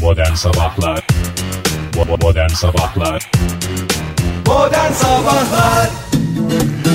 Modern Sabahlar Bo- Modern Sabahlar Modern Sabahlar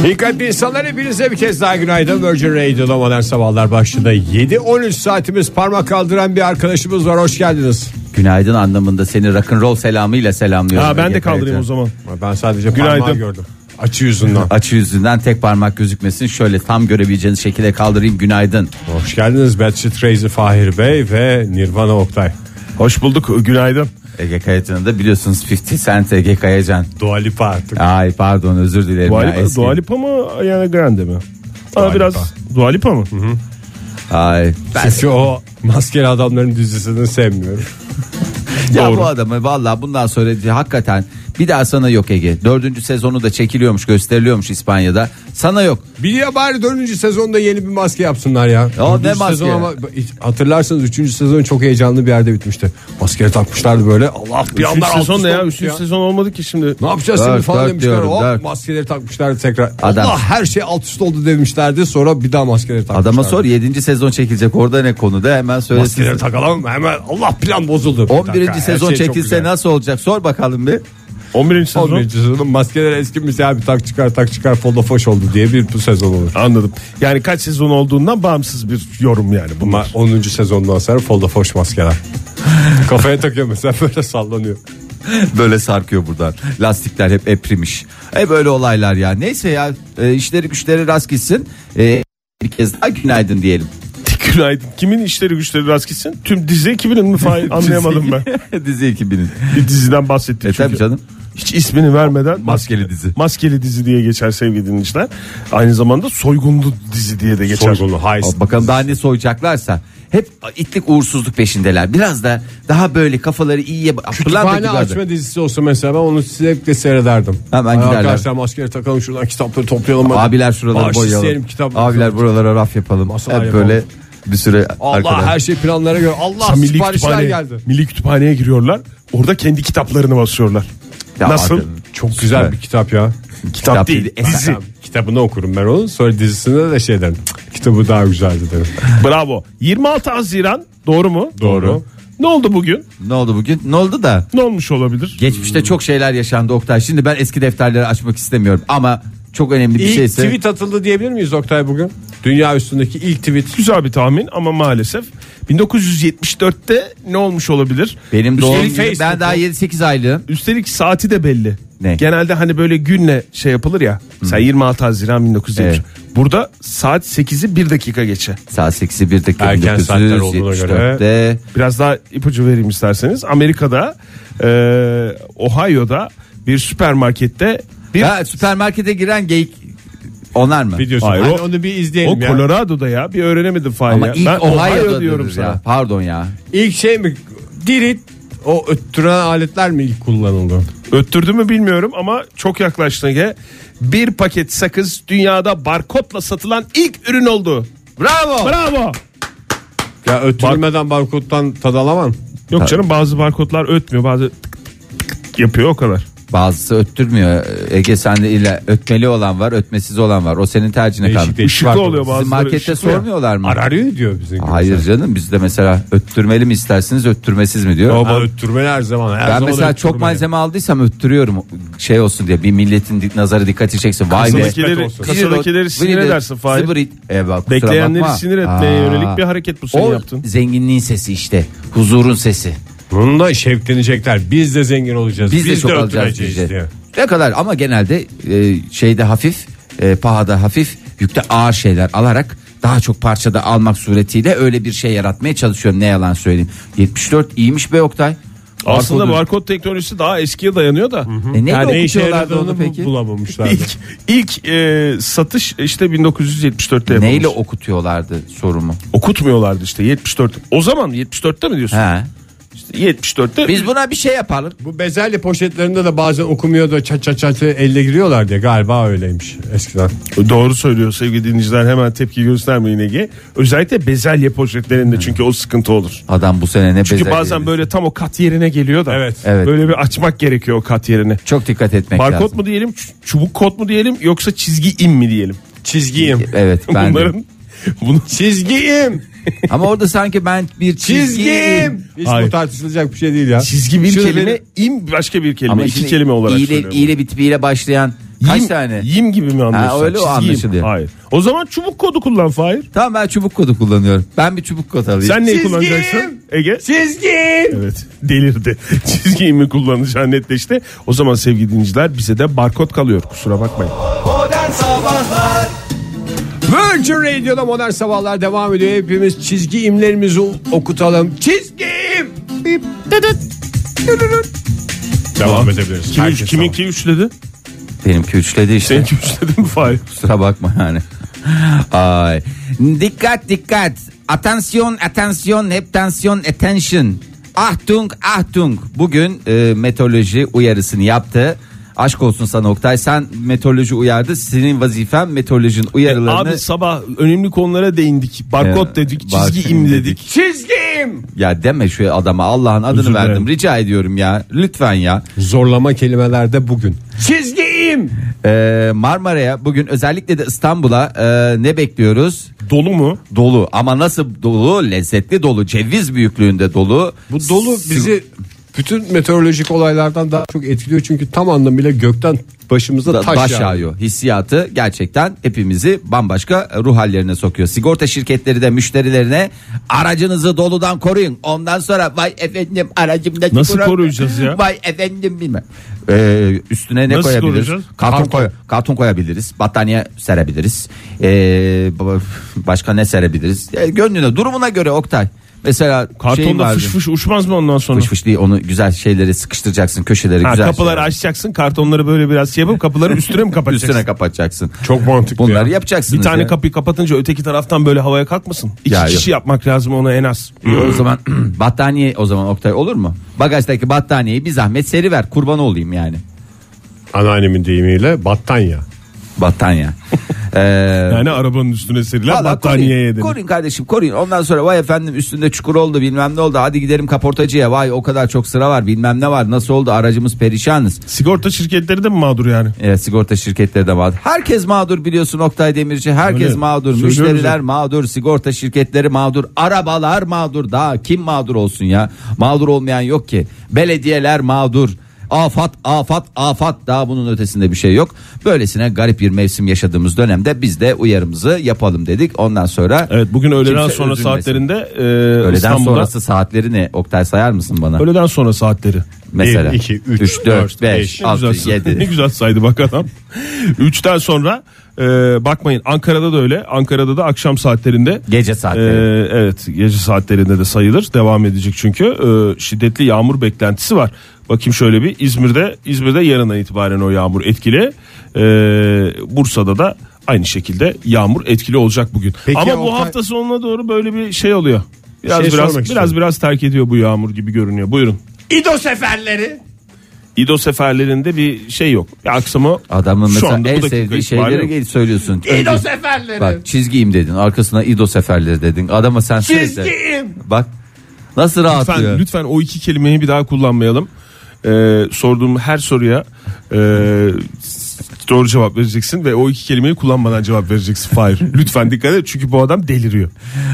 Dikkatli insanlar hepinize bir kez daha günaydın. Virgin Radio'da modern sabahlar başladı. 7-13 saatimiz parmak kaldıran bir arkadaşımız var. Hoş geldiniz. Günaydın anlamında seni rock'n'roll selamıyla selamlıyorum. Ha, ben de Ege kaldırayım Kayacan. o zaman. Ben sadece Günaydın. parmağı gördüm. Açı yüzünden. Açı yüzünden tek parmak gözükmesin. Şöyle tam görebileceğiniz şekilde kaldırayım. Günaydın. Hoş geldiniz Bad Street Reisi Fahir Bey ve Nirvana Oktay. Hoş bulduk. Günaydın. Ege Kayacan'ı da biliyorsunuz 50 Cent Ege Kayacan. Dua Lipa artık. Ay pardon özür dilerim. Dua ya, Lipa, eski. Dua Lipa mı Ariana Grande mi? Aa, biraz Dua Lipa mı? Ay, ben, Çünkü o maskeli adamların dizisini sevmiyorum. ya doğru. bu adamı valla bundan sonra hakikaten bir daha sana yok Ege. Dördüncü sezonu da çekiliyormuş gösteriliyormuş İspanya'da. Sana yok. Bir ya bari dördüncü sezonda yeni bir maske yapsınlar ya. ne Dördüncü maske? sezon ama hatırlarsanız üçüncü sezon çok heyecanlı bir yerde bitmişti. Maskeyi takmışlardı böyle. Allah bir Üçüncü anda alt sezon üst ne ya? olmuş Üçüncü sezon olmadı ki şimdi. Ne yapacağız şimdi Dört, falan dört demişler. diyorum, Hop, dört. maskeleri takmışlardı tekrar. Adam- Allah her şey alt üst oldu demişlerdi. Sonra bir daha maskeleri takmışlardı. Adama sor 7. sezon çekilecek orada ne konuda hemen söylesin. Maskeleri takalım hemen Allah plan bozuldu. Bir 11. dakika, her sezon şey çok çekilse güzel. nasıl olacak sor bakalım bir. 11. sezon. 11. sezonun maskeler eskimiş abi tak çıkar tak çıkar fodofoş oldu diye bir bu sezon olur. Anladım. Yani kaç sezon olduğundan bağımsız bir yorum yani Ama bunlar. 10. sezondan sonra fodofoş maskeler. Kafaya takıyor mesela böyle sallanıyor. Böyle sarkıyor buradan. Lastikler hep eprimiş. E böyle olaylar ya. Neyse ya e, işleri güçleri rast gitsin. E, bir kez daha günaydın diyelim. Günaydın. Kimin işleri güçleri rast gitsin? Tüm dizi ekibinin mi? Fahir? Anlayamadım ben. Dizi E, ekibinin. Bir diziden bahsettik E çünkü. tabii canım. Hiç ismini vermeden. Maskeli dizi. Maskeli dizi diye geçer sevgili dinleyiciler. Aynı zamanda soygunlu dizi diye de geçer. Soygunu, heist. Bakalım daha ne soyacaklarsa. Hep itlik uğursuzluk peşindeler. Biraz da daha böyle kafaları iyiye... Pırlanta Kütüphane gibi adam. açma dizisi olsa mesela ben onu zevkle seyrederdim. Hemen Ay giderler. Arkadaşlar maskeleri takalım şuradan kitapları toplayalım. hadi. Abiler şuraları Bağış isteyelim, boyayalım. kitap Abiler buralara raf yapalım. Masalar hep böyle yapalım. bir süre Allah arkada. her şey planlara göre. Allah Mesela milli siparişler kütüphaneye, geldi. milli kütüphaneye giriyorlar. Orada kendi kitaplarını basıyorlar. Ya Nasıl? adam, Çok güzel Süper. bir kitap ya. Kitap, değil, eser. dizi. Tamam, kitabını okurum ben onun. Sonra dizisinde de şey derim. "Cık, Kitabı daha güzeldi derim. Bravo. 26 Haziran doğru mu? Doğru. Ne oldu bugün? şey- Ne oldu bugün? Ne oldu da? Ne olmuş olabilir? Geçmişte çok şeyler yaşandı Oktay. Şimdi ben eski defterleri açmak istemiyorum ama çok önemli bir şey İlk şeyse tweet atıldı diyebilir miyiz Oktay bugün? Dünya üstündeki ilk tweet. Güzel bir tahmin ama maalesef 1974'te ne olmuş olabilir? benim Şey doğum Üstelik günüm- ben Facebook'u- daha 7-8 aylığım. Üstelik saati de belli. Ne? Hmm. Genelde hani böyle günle şey yapılır ya. Mesela 26 Haziran 1970. Burada saat 8'i 1 dakika geçe. Saat 8'i 1 dakika Erken saatler olduğuna göre. 1974'te. Biraz daha ipucu vereyim isterseniz. Amerika'da e, Ohio'da bir süpermarkette bir Ha, süpermarkete giren geyik onlar mı? Videosu. Hayır, Hani o- onu bir o izleyelim ya. Colorado'da ya bir öğrenemedim Fahir Ama ya. ilk Ben Ohio'da Ohio diyorum diyorum sana. ya. Pardon ya. İlk şey mi? Dirit o öttüren aletler mi ilk kullanıldı? Öttürdü mü bilmiyorum ama çok yaklaştın Ege. Bir paket sakız dünyada barkodla satılan ilk ürün oldu. Bravo. Bravo. Ya öttürülmeden barkodtan tad alamam. Yok canım bazı barkodlar ötmüyor bazı tık tık tık yapıyor o kadar. Bazısı öttürmüyor. Ege sende ile ötmeli olan var, ötmesiz olan var. O senin tercihine Değişik kalmış. değişik Işıklı barkod. oluyor bazıları. Sizin markette ışıklı ya. sormuyorlar mı? Ararıyor diyor bizim gibi. Hayır canım bizde mesela öttürmeli mi istersiniz, öttürmesiz mi diyor. Ama ben- öttürmeli her zaman. Her Ben zaman mesela çok öttürmeli. malzeme aldıyorum. aldıysam öttürüyorum şey olsun diye bir milletin di- nazarı dikkati çeksin. Vay be. Kısmet Kasadekileri, olsun. kasadakileri sinir edersin Fahir. Zıbır it- E bak, kusura Bekleyenleri bakma. sinir Aa. etmeye yönelik bir hareket bu seni O yaptın. zenginliğin sesi işte. Huzurun sesi. Bununla şevklenecekler. Biz de zengin olacağız. Biz, de çok alacağız öttüreceğiz diyeceğiz. Ne kadar ama genelde e, şeyde hafif, e, pahada hafif, yükte ağır şeyler alarak daha çok parçada almak suretiyle öyle bir şey yaratmaya çalışıyorum. Ne yalan söyleyeyim. 74 iyiymiş be Oktay. Aslında Barkodu- barkod teknolojisi daha eskiye dayanıyor da. E, neyle Yani ne işe okutuyorlardı yaradığını onu peki? bu- bulamamışlardı. İlk, ilk e, satış işte 1974'te yapılmış. Neyle okutuyorlardı sorumu? Okutmuyorlardı işte 74. O zaman 74'te mi diyorsun? He. İşte 74'te Biz buna bir şey yapalım. Bu bezelye poşetlerinde de bazen okumuyor da çat çat çat elle giriyorlar diye galiba öyleymiş eskiden. Doğru söylüyor sevgili dinleyiciler hemen tepki göstermeyin Ege. Özellikle bezelye poşetlerinde çünkü o sıkıntı olur. Adam bu sene ne Çünkü bezelye bazen dedi. böyle tam o kat yerine geliyor da. Evet. Evet. Böyle bir açmak gerekiyor o kat yerini. çok dikkat etmek Barkod lazım. mu diyelim, ç- çubuk kod mu diyelim yoksa çizgi im mi diyelim? Çizgiyim. Evet ben de. Bunların bunu Çizgiyim. Ama orada sanki ben bir çizgim. Çizgim. Hiç Hayır. bu tartışılacak bir şey değil ya. Çizgi bir Şöyle kelime, beni- im başka bir kelime, Ama iki şimdi kelime olarak iyle, söylüyorum. iyle bitip iyle başlayan kaç Yim- tane? Yim gibi mi anlıyorsun? Ha, öyle o Çizgi yim. anlaşılıyor. Hayır. O zaman çubuk kodu kullan Fahir. Tamam ben çubuk kodu kullanıyorum. Ben bir çubuk kod alayım. Sen neyi Çizgi kullanacaksın? Ege? Çizgim. Evet delirdi. Çizgiyi mi kullanacağı netleşti. O zaman sevgili dinleyiciler bize de barkod kalıyor kusura bakmayın. Modern Sabahlar Virgin Radio'da modern sabahlar devam ediyor. Hepimiz çizgi imlerimizi okutalım. Çizgim. Bip, dıdıt, dırırıt. Devam edebiliriz. Kim, Herkes üç, kiminki üçledi? Benimki üçledi işte. Seninki üçledi mi Fahir? Kusura bakma yani. Ay. Dikkat dikkat. Atansiyon atansiyon hep tansiyon attention. Ah Ahtung ahtung. Bugün e, meteoroloji uyarısını yaptı. Aşk olsun sana Oktay. Sen meteoroloji uyardı. Senin vazifen meteorolojinin uyarılarını... Abi sabah önemli konulara değindik. Barkod Ee, dedik, barkod çizgi im dedik. dedik. Çizgim. Ya deme şu adama Allah'ın adını Özür dilerim. verdim. Rica ediyorum ya. Lütfen ya. Zorlama kelimelerde bugün. Çizgim. Ee, Marmara'ya bugün özellikle de İstanbul'a e, ne bekliyoruz? Dolu mu? Dolu ama nasıl dolu? Lezzetli dolu. Ceviz büyüklüğünde dolu. Bu dolu bizi bütün meteorolojik olaylardan daha çok etkiliyor. Çünkü tam anlamıyla gökten başımıza da, taş, taş yağıyor. yağıyor. Hissiyatı gerçekten hepimizi bambaşka ruh hallerine sokuyor. Sigorta şirketleri de müşterilerine aracınızı doludan koruyun. Ondan sonra vay efendim aracımdaki Nasıl problem- koruyacağız ya? Vay efendim bilmem. Ee, üstüne ne Nasıl koyabiliriz? koruyacağız? Karton, Karton. koy- karton koyabiliriz. Battaniye serebiliriz. Ee, ba- başka ne serebiliriz? Ee, gönlüne durumuna göre Oktay. Mesela şeyin Kartonda Şey vardı. fış fış uçmaz mı ondan sonra? Fış fış değil onu güzel şeyleri sıkıştıracaksın köşeleri Ha, güzel. kapıları şeyler. açacaksın kartonları böyle biraz şey yapıp kapıları üstüne mi kapatacaksın? Üstüne kapatacaksın. Çok mantıklı Bunları ya. yapacaksınız Bir tane ya. kapıyı kapatınca öteki taraftan böyle havaya kalkmasın. İki Ya kişi yapmak lazım ona en az. o zaman battaniye o zaman Oktay olur mu? Bagajdaki battaniyeyi bir zahmet seri ver kurban olayım yani. Anneannemin deyimiyle battanya. Battaniye. Ee, Yani arabanın üstüne serilen Valla battaniyeye koruyun, dedim. koruyun kardeşim koruyun. Ondan sonra vay efendim üstünde çukur oldu bilmem ne oldu. Hadi gidelim kaportacıya. Vay o kadar çok sıra var bilmem ne var. Nasıl oldu aracımız perişanız. Sigorta şirketleri de mi mağdur yani? E, sigorta şirketleri de mağdur. Herkes mağdur biliyorsun Oktay Demirci. Herkes Öyle. mağdur. Söylüyoruz Müşteriler ya. mağdur. Sigorta şirketleri mağdur. Arabalar mağdur. Daha kim mağdur olsun ya? Mağdur olmayan yok ki. Belediyeler mağdur. Afat, afat, afat. Daha bunun ötesinde bir şey yok. Böylesine garip bir mevsim yaşadığımız dönemde biz de uyarımızı yapalım dedik. Ondan sonra Evet bugün öğleden Kimse sonra üzülmesin. saatlerinde e, öğleden İstanbul'da sonrası saatleri ne? Oktay sayar mısın bana? öğleden sonra saatleri. Mesela Bir, iki, üç, 3 4 5 Ne 6 güzel, 7 ne güzel saydı bak adam. Üçten sonra e, bakmayın Ankara'da da öyle. Ankara'da da akşam saatlerinde gece Ee, saatleri. evet gece saatlerinde de sayılır devam edecek çünkü Ee, şiddetli yağmur beklentisi var. Bakayım şöyle bir İzmir'de İzmir'de yarından itibaren o yağmur etkili. Ee, Bursa'da da aynı şekilde yağmur etkili olacak bugün. Peki Ama bu Oktay- hafta sonuna doğru böyle bir şey oluyor. Biraz Şey biraz sormak biraz istiyorum. biraz terk ediyor bu yağmur gibi görünüyor. Buyurun. İdo seferleri. İdo seferlerinde bir şey yok. Aksama Adamın şu mesela anda bu en dakika sevdiği itibariyle şeyleri yok. gel söylüyorsun. İdo Önce- seferleri. Bak çizgiyim dedin. Arkasına İdo seferleri dedin. Adama sen sürekli- Çizgiyim. Bak nasıl rahatlıyor. Lütfen, lütfen o iki kelimeyi bir daha kullanmayalım. Ee, sorduğum her soruya e, doğru cevap vereceksin ve o iki kelimeyi kullanmadan cevap vereceksin. Hayır. Lütfen dikkat et çünkü bu adam deliriyor.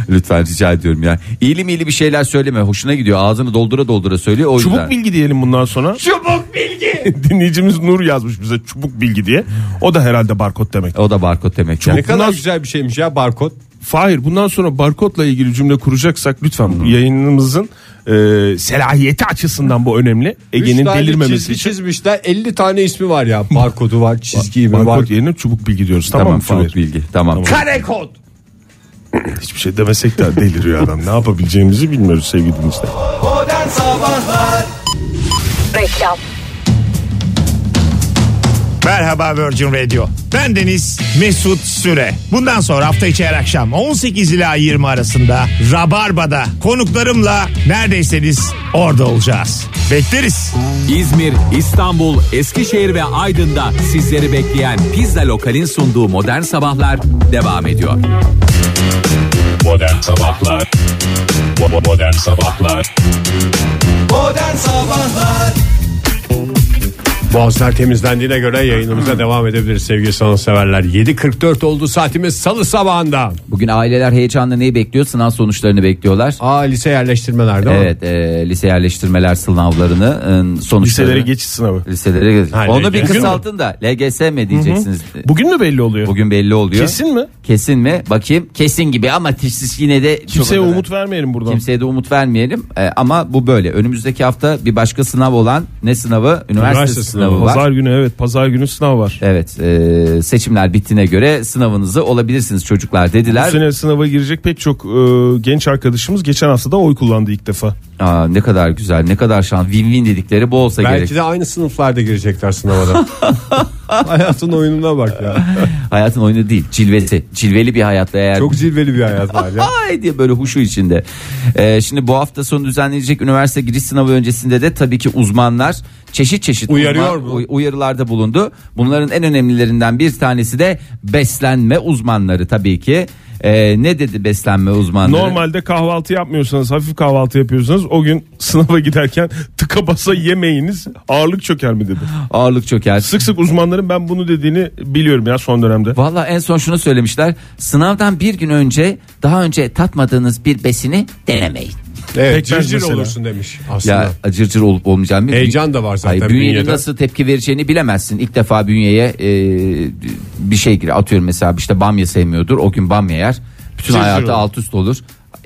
Lütfen rica ediyorum ya. İyili miyili bir şeyler söyleme. Hoşuna gidiyor. Ağzını doldura doldura söylüyor. O Çubuk yüzden. bilgi diyelim bundan sonra. Çubuk bilgi. Dinleyicimiz Nur yazmış bize çubuk bilgi diye. O da herhalde barkod demek. O da barkod demek. ya. Ne kadar Bundan- güzel bir şeymiş ya barkod. Fahir bundan sonra barkodla ilgili cümle kuracaksak lütfen bu yayınımızın e, selahiyeti açısından bu önemli. Ege'nin Üç tane delirmemesi çizgi için. çizmişler 50 tane ismi var ya. Barkodu var, çizgi var. Barkod yerine çubuk bilgi diyoruz. Tamam, Tamam mı Fahir? çubuk bilgi. Tamam. Kare kod. Hiçbir şey demesek de deliriyor adam. Ne yapabileceğimizi bilmiyoruz sevgili dinleyiciler. şey Modern Sabahlar Reklam. Merhaba Virgin Radio. Ben Deniz Mesut Süre. Bundan sonra hafta içi her akşam 18 ila 20 arasında Rabarba'da konuklarımla neredeyseniz orada olacağız. Bekleriz. İzmir, İstanbul, Eskişehir ve Aydın'da sizleri bekleyen Pizza Lokal'in sunduğu modern sabahlar devam ediyor. Modern Sabahlar Bo- Modern Sabahlar Modern Sabahlar Boğazlar temizlendiğine göre yayınımıza devam edebiliriz sevgili sanatseverler. 7.44 oldu saatimiz salı sabahında. Bugün aileler heyecanla neyi bekliyor? Sınav sonuçlarını bekliyorlar. Aa lise yerleştirmeler değil mi? Evet e, lise yerleştirmeler sınavlarının e, sonuçları. Liselere e, geçiş sınavı. Liselere geç. Ha, Onu bir LGS mi? kısaltın da LGS mi diyeceksiniz. Bugün mü belli oluyor? Bugün belli oluyor. Kesin mi? Kesin mi? Bakayım. Kesin gibi ama teşhis yine de çok Kimseye önemli. umut vermeyelim buradan. Kimseye de umut vermeyelim E, ama bu böyle. Önümüzdeki hafta bir başka sınav olan ne sınavı? Üniversite, sınavı, var. Pazar günü evet pazar günü sınav var. Evet e, seçimler bittiğine göre sınavınızı olabilirsiniz çocuklar Bu dediler. sene sınava girecek pek çok e, genç arkadaşımız geçen hafta da oy kullandı ilk defa. Aa, ne kadar güzel ne kadar şans win win dedikleri bu olsa Belki gerek. de aynı sınıflarda girecekler sınava da. Hayatın oyununa bak ya. Hayatın oyunu değil cilvesi cilveli bir hayatla eğer Çok zilveli bir hayat var ya. Ay diye böyle huşu içinde. Ee, şimdi bu hafta sonu düzenlenecek üniversite giriş sınavı öncesinde de tabii ki uzmanlar çeşit çeşit Uyarıyor uzman- mu? uy- uyarılarda bulundu. Bunların en önemlilerinden bir tanesi de beslenme uzmanları tabii ki. Ee, ne dedi beslenme uzmanları? Normalde kahvaltı yapmıyorsanız hafif kahvaltı yapıyorsanız o gün sınava giderken tıka basa yemeyiniz ağırlık çöker mi dedi. Ağırlık çöker. Sık sık uzmanların ben bunu dediğini biliyorum ya son dönemde. Valla en son şunu söylemişler. Sınavdan bir gün önce daha önce tatmadığınız bir besini denemeyin. Evet, Pekmez cırcır mesela. olursun demiş aslında. Ya acır cır olup olmayacağını bilmiyorum. Heyecan da var zaten Hayır, bünyenin bünyede. nasıl tepki vereceğini bilemezsin. İlk defa bünyeye e, bir şey girer. Atıyorum mesela işte bamya sevmiyordur. O gün bamya yer. Bütün Cırcır hayatı olur. alt üst olur.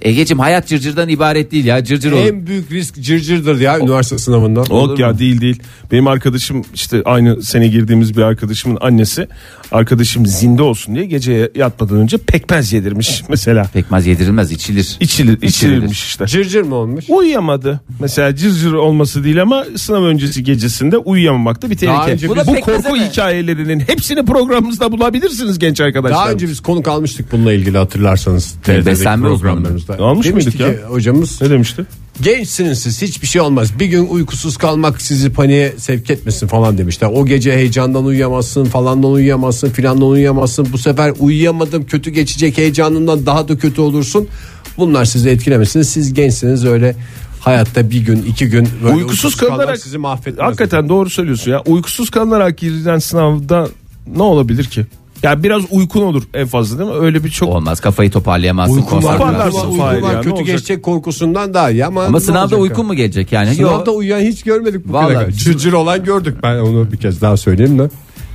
Egeciğim hayat cırcırdan ibaret değil ya. Cırcır olur. En büyük risk cırcırdır ya üniversite sınavında. Yok ya değil değil. Benim arkadaşım işte aynı sene girdiğimiz bir arkadaşımın annesi arkadaşım zinde olsun diye gece yatmadan önce pekmez yedirmiş mesela. Pekmez yedirilmez içilir. İçilir, içirilmiş işte. Cırcır mı olmuş? Uyuyamadı. Mesela cırcır olması değil ama sınav öncesi gecesinde uyuyamamak da bir Daha tehlike. önce Bu, biz- korku Pekmez'e mi? hikayelerinin hepsini programımızda bulabilirsiniz genç arkadaşlar. Daha önce biz konuk almıştık bununla ilgili hatırlarsanız. TRT'deki beslenme uzmanı. programlarımızda. Almış Demiştik mıydık ya? ki hocamız ne demişti? gençsiniz siz hiçbir şey olmaz. Bir gün uykusuz kalmak sizi paniğe sevk etmesin falan demişler. O gece heyecandan uyuyamazsın falandan uyuyamazsın filandan uyuyamazsın. Bu sefer uyuyamadım kötü geçecek heyecanından daha da kötü olursun. Bunlar sizi etkilemesin. Siz gençsiniz öyle hayatta bir gün iki gün böyle Uykusuz kalarak sizi mahvetmez. Hakikaten doğru söylüyorsun ya. Uykusuz kalınarak girilen sınavda ne olabilir ki? Ya biraz uykun olur en fazla değil mi? Öyle bir çok Olmaz kafayı toparlayamazsın. Uykum var, konsantrasyonu. toparlarsın. uykum var, Fahir ya, ne kötü olacak? geçecek korkusundan daha iyi ama Ama ne sınavda olacak uykun ya? mu gelecek yani? Sınavda Yok. uyuyan hiç görmedik bu Vallahi kadar. Cırcır olan gördük ben onu bir kez daha söyleyeyim de.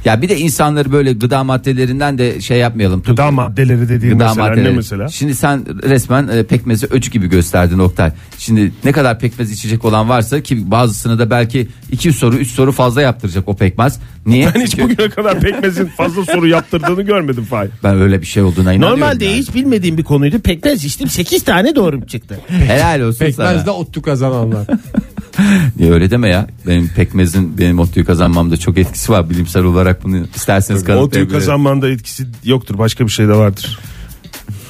Ya bir de insanları böyle gıda maddelerinden de şey yapmayalım. gıda maddeleri dediğin Gıda mesela maddeleri. ne mesela? Şimdi sen resmen e, pekmezi öcü gibi gösterdin Oktay. Şimdi ne kadar pekmez içecek olan varsa ki bazısını da belki iki soru üç soru fazla yaptıracak o pekmez. Niye? Ben hiç bugüne kadar pekmezin fazla soru yaptırdığını görmedim Fahir. Ben öyle bir şey olduğuna inanıyorum. Normalde yani. hiç bilmediğim bir konuydu. Pekmez içtim 8 tane doğru çıktı. Helal olsun Pekmez de sana. ottu kazananlar. Niye öyle deme ya. Benim pekmezin benim otuyu kazanmamda çok etkisi var bilimsel olarak bunu isterseniz O tüy kanıtlayabilirim. kazanmanda etkisi yoktur. Başka bir şey de vardır.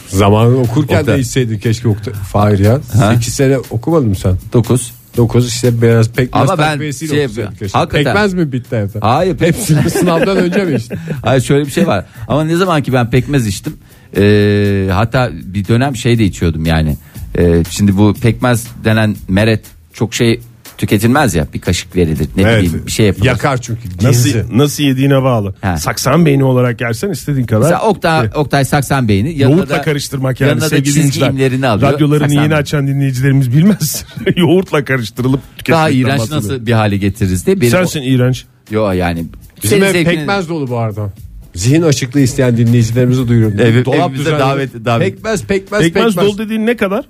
Zamanını okurken Oktay. de içseydin keşke Oktay. Fahir ya. 8 sene okumadın mı sen? 9. 9 işte biraz pekmez Ama ben takviyesiyle şey okusaydın yapıyorum. keşke. Hakikaten. Pekmez mi bitti evde? Hayır pekmez. Hepsini sınavdan önce mi işte? Hayır şöyle bir şey var. Ama ne zaman ki ben pekmez içtim. e, hatta bir dönem şey de içiyordum yani. E, şimdi bu pekmez denen meret çok şey tüketilmez ya. Bir kaşık verilir ne bileyim bir şey yapılır. Yakar çünkü. Nasıl Nasıl? nasıl yediğine bağlı. Ha. Saksan beyni olarak yersen istediğin kadar. Mesela Oktay, Oktay Saksan Bey'ini yanına Yoğurtla da- Şey- karıştırmak yani yanına da sevgili çizgi dinleyiciler. imlerini alıyor. Radyolarını Saksan yeni Bey. açan dinleyicilerimiz bilmez. Yoğurtla karıştırılıp tüketmekten Daha iğrenç bahsediyorum. nasıl bir hale getiririz diye. Benim Sensin iğrenç. Yo yani. Bizim senin ev zevkinin- pekmez dolu bu arada. Zihin açıklığı isteyen dinleyicilerimizi duyuruyorum. Ev- Dolap evimize düzenli- davet- davet- Pekmez, pekmez, Pekmez, pekmez. dolu dediğin ne kadar?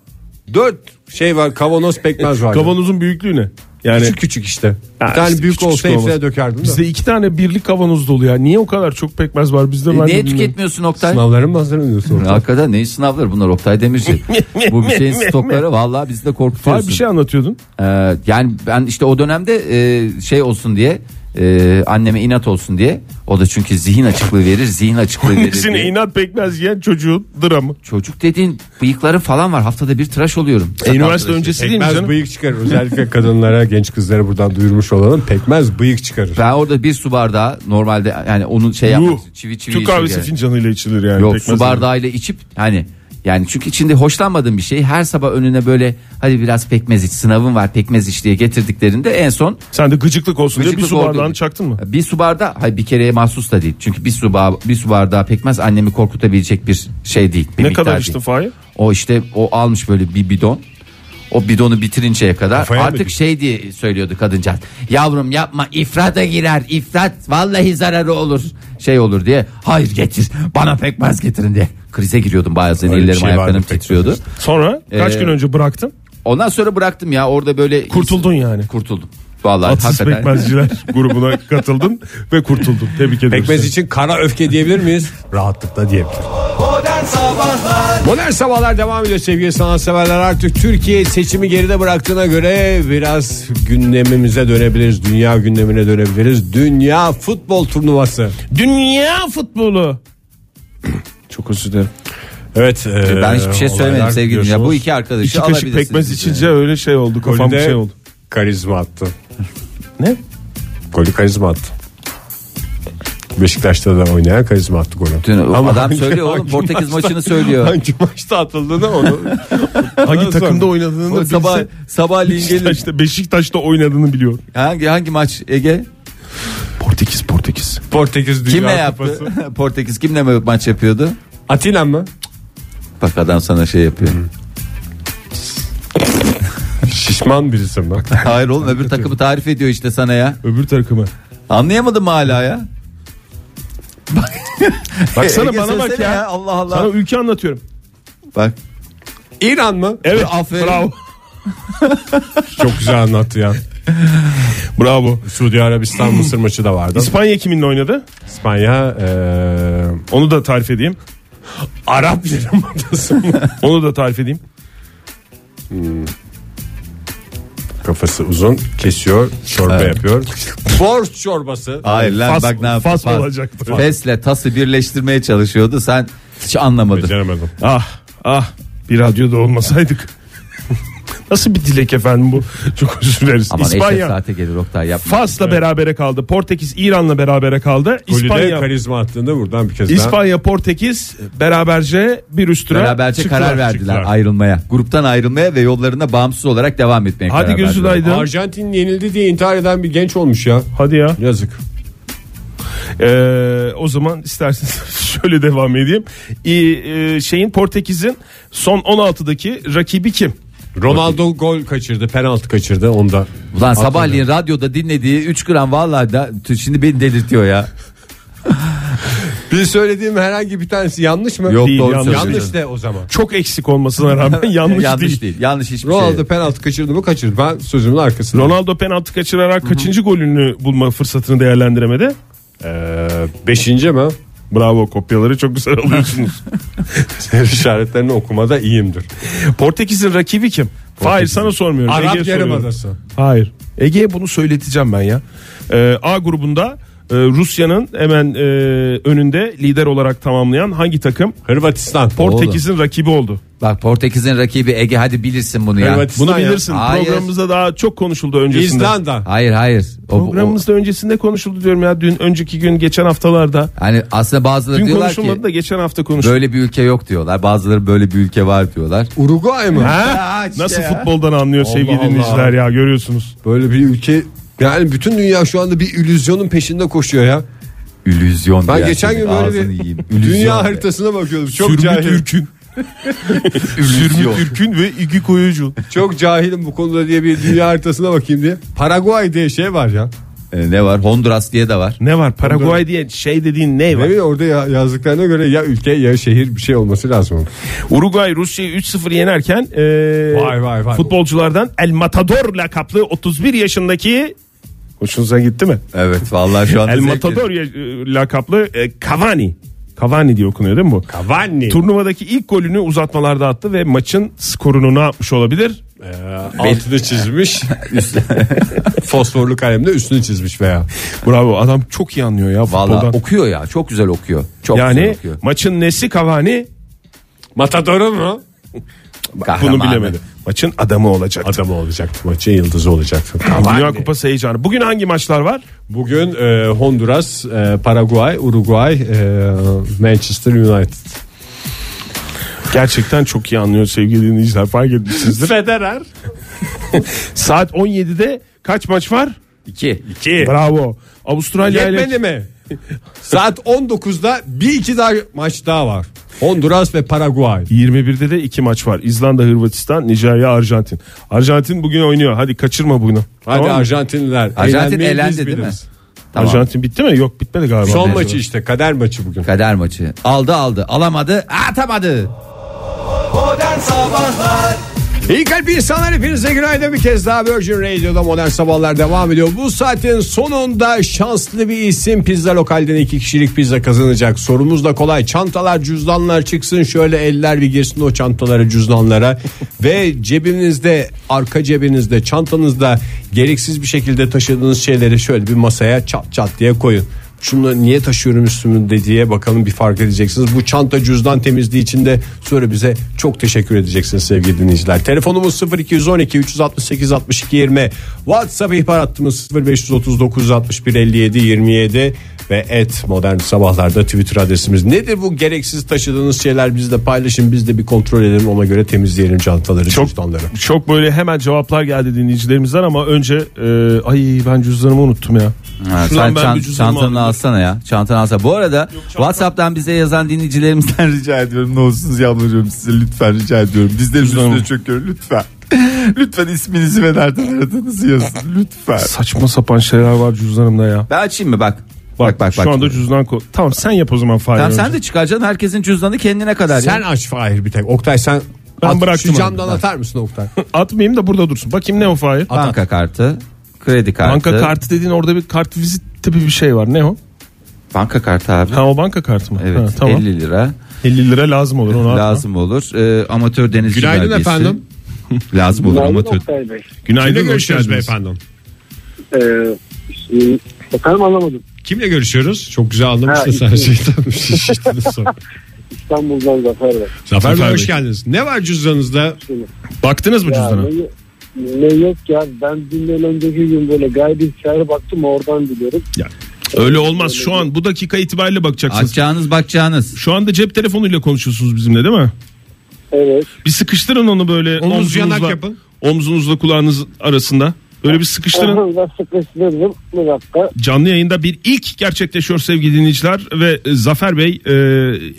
4 şey var kavanoz pekmez var. Kavanozun büyüklüğü ne? Yani küçük küçük işte. Ha, bir tane işte büyük küçük olsa kavanoz. hepsine dökerdim de. bizde iki tane birlik kavanoz dolu ya. Niye o kadar çok pekmez var bizde? ben de Neye bilmiyorum. E, tüketmiyorsun Oktay? Sınavları mı hazırlanıyorsun? Hakikaten neyin sınavları bunlar Oktay Demirci. Bu bir şeyin stokları vallahi bizi de Var korkutuyorsun. bir şey anlatıyordun. Ee, yani ben işte o dönemde e, şey olsun diye e, anneme inat olsun diye o da çünkü zihin açıklığı verir zihin açıklığı verir Sizin diye. inat pekmez yiyen çocuğun dramı. çocuk dediğin bıyıkları falan var haftada bir tıraş oluyorum şey. Sakal E, üniversite tıraşı. öncesi değil mi Pekmez canım? bıyık çıkarır. Özellikle kadınlara, genç kızlara buradan duyurmuş olalım. Pekmez bıyık çıkarır. ben orada bir su bardağı normalde yani onu şey Yuh. yapmak için çivi çivi Türk içiyor kahvesi yani. fincanıyla içilir yani. yok pekmez su bardağıyla içip hani Yani çünkü içinde hoşlanmadığım bir şey her sabah önüne böyle hadi biraz pekmez iç sınavın var pekmez iç diye getirdiklerinde en son Sen de gıcıklık olsun diye bir Gıcıklık su bardağını oldu. çaktın mı? Bir su bardağı hayır bir kereye mahsus da değil. Çünkü bir su, ba- bir su bardağı pekmez annemi korkutabilecek bir şey değil. bir Ne miktar kadar değil. içtin Fahir? O işte o almış böyle bir bidon. O bidonu bitirinceye kadar Kafaya mı artık gitti? şey diye söylüyordu kadıncağız. Yavrum yapma ifrata girer ifrat vallahi zararı olur şey olur diye. Hayır getir bana pekmez getirin diye. Krize giriyordum bazen bir ellerim şey ayaklarım vardı pekmez titriyordu. işte. Sonra kaç Ee, gün önce bıraktın? Ondan sonra bıraktım ya orada böyle. Kurtuldun yani. Kurtuldum. Vallahi Atsız hakikaten. pekmezciler grubuna katıldın ve kurtuldun. Tebrik ediyoruz. Pekmez seni. için kara öfke diyebilir miyiz? Rahatlıkla diyebilirim. Modern Sabahlar Modern Sabahlar devam ediyor sevgili sanatseverler. Artık Türkiye seçimi geride bıraktığına göre biraz gündemimize dönebiliriz. Dünya gündemine dönebiliriz. Dünya futbol turnuvası. Dünya futbolu. Çok özür dilerim. Evet. e, Ben hiçbir şey olaylar söylemedim sevgili ya. Bu biliyorsunuz. iki arkadaşı İki kaşık alabilirsiniz pekmez bize. içince öyle şey oldu. Kafam bir Golde şey oldu. Karizma attı. Ne? Golü karizma attı. Beşiktaş'ta da oynayan karizma attı golü. Dün o Ama adam hangi- söylüyor oğlum hangi Portekiz maçta- maçını söylüyor. Hangi maçta atıldığını onu Hangi Ondan takımda sonra- oynadığını O bilse sabah sabahleyin gelir. Beşiktaş'ta, Beşiktaş'ta oynadığını biliyor. Hangi hangi maç Ege? Portekiz Portekiz. Portekiz Dünya Kimle yaptı? Kupası. Portekiz kimle mi maç yapıyordu? Atilla mı? Bak adam sana şey yapıyor. Şişman birisi mi? Hayır oğlum öbür takımı tarif ediyor işte sana ya. Öbür takımı. Anlayamadım mı hala ya? Baksana Ege bana bak söylesene ya. Allah Allah. Sana ülke anlatıyorum. Bak. İran mı? Evet. Aferin. Bravo. Çok güzel anlattı ya. Bravo. Suudi Arabistan Mısır maçı da vardı. İspanya kiminle oynadı? İspanya e, Onu da tarif edeyim. Arap yarımadası mı? Onu da tarif edeyim. Kafası uzun kesiyor çorba Evet. yapıyor. Borç çorbası. Hayır lan Fas- bak ne yaptı. fas olacaktı. Fesle tası birleştirmeye çalışıyordu. Sen hiç anlamadın. Beceremedim. Ah ah bir radyoda olmasaydık. Nasıl bir dilek efendim bu? Çok özür dileriz. Aman eşek İspanya saate gelir Oktay yapma. Fas'la berabere kaldı. Portekiz İran'la berabere kaldı. Golü de İspanya karizma attığında buradan bir kez daha. İspanya Portekiz beraberce bir üstüne Beraberce çıktılar, karar verdiler çıktılar. ayrılmaya. Gruptan ayrılmaya ve yollarına bağımsız olarak devam etmeye Hadi karar gözün verdiler. aydın. Arjantin yenildi diye intihar eden bir genç olmuş ya. Hadi ya. Yazık. Ee, o zaman isterseniz şöyle devam edeyim. Ee, e, şeyin Portekiz'in son 16'daki rakibi kim? Ronaldo gol kaçırdı, penaltı kaçırdı onda. Ulan sabahleyin radyoda dinlediği 3 gram vallahi da t- şimdi beni delirtiyor ya. Bir söylediğim herhangi bir tanesi yanlış mı? Yok Değil, doğru yanlış. söylüyorsun. Yanlış de o zaman. Çok eksik olmasına rağmen yanlış, değil. Yanlış hiçbir Ronaldo şey. penaltı kaçırdı mı kaçırdı. Ben sözümün arkasında. Ronaldo penaltı kaçırarak kaçıncı golünü bulma fırsatını değerlendiremedi? Ee, beşinci mi? Bravo kopyaları çok güzel alıyorsunuz. Her işaretlerini okumada iyiyimdir. Portekiz'in rakibi kim? Hayır sana sormuyorum. Ege'ye Arap soruyorum. Yarımadası. Hayır. Ege'ye bunu söyleteceğim ben ya. Ee, A grubunda e, Rusya'nın hemen e, önünde lider olarak tamamlayan hangi takım? Hırvatistan. Portekiz'in rakibi oldu. Bak Portekiz'in rakibi Ege hadi bilirsin bunu ya. Hırvatistan Bunu ya. bilirsin. Hayır. Programımızda daha çok konuşuldu öncesinde. İzlanda. Hayır hayır. O, o- Programımızda öncesinde konuşuldu diyorum ya dün önceki gün geçen haftalarda. hani aslında bazıları Dün diyorlar ki konuşulmadı da geçen hafta konuşuldu. böyle bir ülke yok diyorlar. Bazıları böyle bir ülke var diyorlar. Uruguay mı? Ha? Nasıl futboldan anlıyor sevgili Allah. dinleyiciler ya görüyorsunuz. Böyle bir ülke yani bütün dünya şu anda bir illüzyonun peşinde koşuyor ya. Ülüzyon Ben diye geçen gün ağzını böyle bir yiyeyim. Ülüzyon dünya diye. haritasına bakıyordum. Çok Sürmüt cahilim. Ürkün. Ülüzyon. Sürmüt Ürkün ve İgi Koyucu. Çok cahilim bu konuda diye bir dünya haritasına bakayım diye. Paraguay diye şey var ya. Ee, ne var? Honduras diye de var. Ne var Paraguay diye şey dediğin ne var? Demin orada ya- yazdıklarına göre ya ülke ya şehir bir şey olması lazım. Uruguay Rusya'yı 3-0 yenerken e, Vay vay vay. futbolculardan El Matador lakaplı 31 yaşındaki hoşunuza gitti mi? Evet vallahi şu an El Matador ya- e, lakaplı e, Cavani. Cavani diye okunuyor değil mi bu? Cavani. Turnuvadaki ilk golünü uzatmalarda attı ve maçın skorunu ne yapmış olabilir? E, altını çizmiş. Fosforlu kalemle üstünü çizmiş veya. Bravo adam çok iyi anlıyor ya Valla futboldan. okuyor ya. Çok güzel okuyor. Çok güzel Yani okuyor. maçın nesi Cavani Matador'u mu? bunu Kahramanı. bilemedi. Maçın adamı hani- olacak. Adamı olacaktı. Maçın yıldızı olacaktı. Dünya Kupası heyecanı. Bugün hangi maçlar var? Bugün e, Honduras, e, Paraguay, Uruguay, e, Manchester United. Gerçekten çok iyi anlıyor sevgili dinleyiciler fark etmişsinizdir. Federer. Saat 17'de kaç maç var? 2. Bravo. Avustralya ile Yetmedi mi? Saat 19'da bir iki daha maç daha var. Honduras ve Paraguay. 21'de de 2 maç var. İzlanda, Hırvatistan, Nijerya, Arjantin. Arjantin bugün oynuyor. Hadi kaçırma bunu. Hadi Tamam mı? Arjantinliler. Arjantin Eğlenmeyi elendi biz değil mi? biliriz. Tamam. Arjantin bitti mi? Yok bitmedi galiba. Son maçı işte kader maçı bugün. Kader maçı. Aldı aldı. Alamadı. Atamadı. Modern Sabahlar İyi kalp insanlar hepinize günaydın bir kez daha Virgin Radio'da modern sabahlar devam ediyor. Bu saatin sonunda şanslı bir isim pizza lokalden iki kişilik pizza kazanacak. Sorumuz da kolay çantalar cüzdanlar çıksın şöyle eller bir girsin o çantalara cüzdanlara. Ve cebinizde arka cebinizde çantanızda gereksiz bir şekilde taşıdığınız şeyleri şöyle bir masaya çat çat diye koyun. Şunu niye taşıyorum üstümde diye bakalım bir fark edeceksiniz. Bu çanta cüzdan temizliği için de sonra bize çok teşekkür edeceksiniz sevgili dinleyiciler. Telefonumuz 0212 368 62 20. WhatsApp ihbar hattımız 0539 61 57 27 ve et modern sabahlarda Twitter adresimiz. Nedir bu gereksiz taşıdığınız şeyler bizle paylaşın biz de bir kontrol edelim ona göre temizleyelim çantaları Çok- cüzdanları. Çok böyle hemen cevaplar geldi dinleyicilerimizden ama önce e, ay ben cüzdanımı unuttum ya. Ha, Şuradan sen ben çan- bir cüzdanımı alayım. çantanı alsana ya. Çantanı alsana. Bu arada WhatsApp'tan bize yazan dinleyicilerimizden rica ediyorum. Ne olursunuz yalvarıyorum size lütfen rica ediyorum. Biz de Cüzdanımı. üstüne çöküyor lütfen. lütfen isminizi ve nereden aradığınızı yazın lütfen. Saçma sapan şeyler var cüzdanımda ya. Ben açayım mı bak. Bak bak Şu anda cüzdan ko- Tamam sen yap o zaman Fahir. Tamam önce. sen de çıkaracaksın herkesin cüzdanı kendine kadar. Sen ya. aç Fahir bir tek. Oktay sen Ben at- bıraktım şu camdan onu. atar mısın Oktay? Atmayayım da burada dursun. Bakayım ne o Fahir? Banka kartı, kredi kartı. Banka kartı dediğin orada bir kart vizit tipi bir şey var. Ne o? Banka kartı abi. Ha o banka kartı mı? Evet Ha, tamam. 50. 50 lira 50 lira lazım olur onu Lazım. lazım olur. Ee, amatör denizci Günaydın belgesi. efendim. lazım olur Günaydın amatör. Oktay Bey. Kimle Günaydın hoş görüşüyoruz geldiniz. beyefendi? Ee, e, efendim anlamadım. Kimle görüşüyoruz? Çok güzel anlamışsınız Ha, her şeyi. Tabii, şiştiniz şey sonra. İstanbul'dan Zafer Bey. Zafer Bey Zafer hoş Bey. geldiniz. Ne var cüzdanınızda? Baktınız mı Ya, cüzdana? ne, ne yok ya ben dünden önceki gün böyle gayri çağrı baktım oradan biliyorum. Öyle olmaz şu an bu dakika itibariyle bakacaksınız. Açacağınız bakacağınız. Şu anda cep telefonuyla konuşuyorsunuz bizimle değil mi? Evet. Bir sıkıştırın onu böyle Omuz omzunuzla, yanak yapın. omzunuzla kulağınız arasında. Böyle bir sıkıştırın. Oradan da sıkıştırdım. Bir dakika. Canlı yayında bir ilk gerçekleşiyor sevgili dinleyiciler ve e, Zafer Bey e,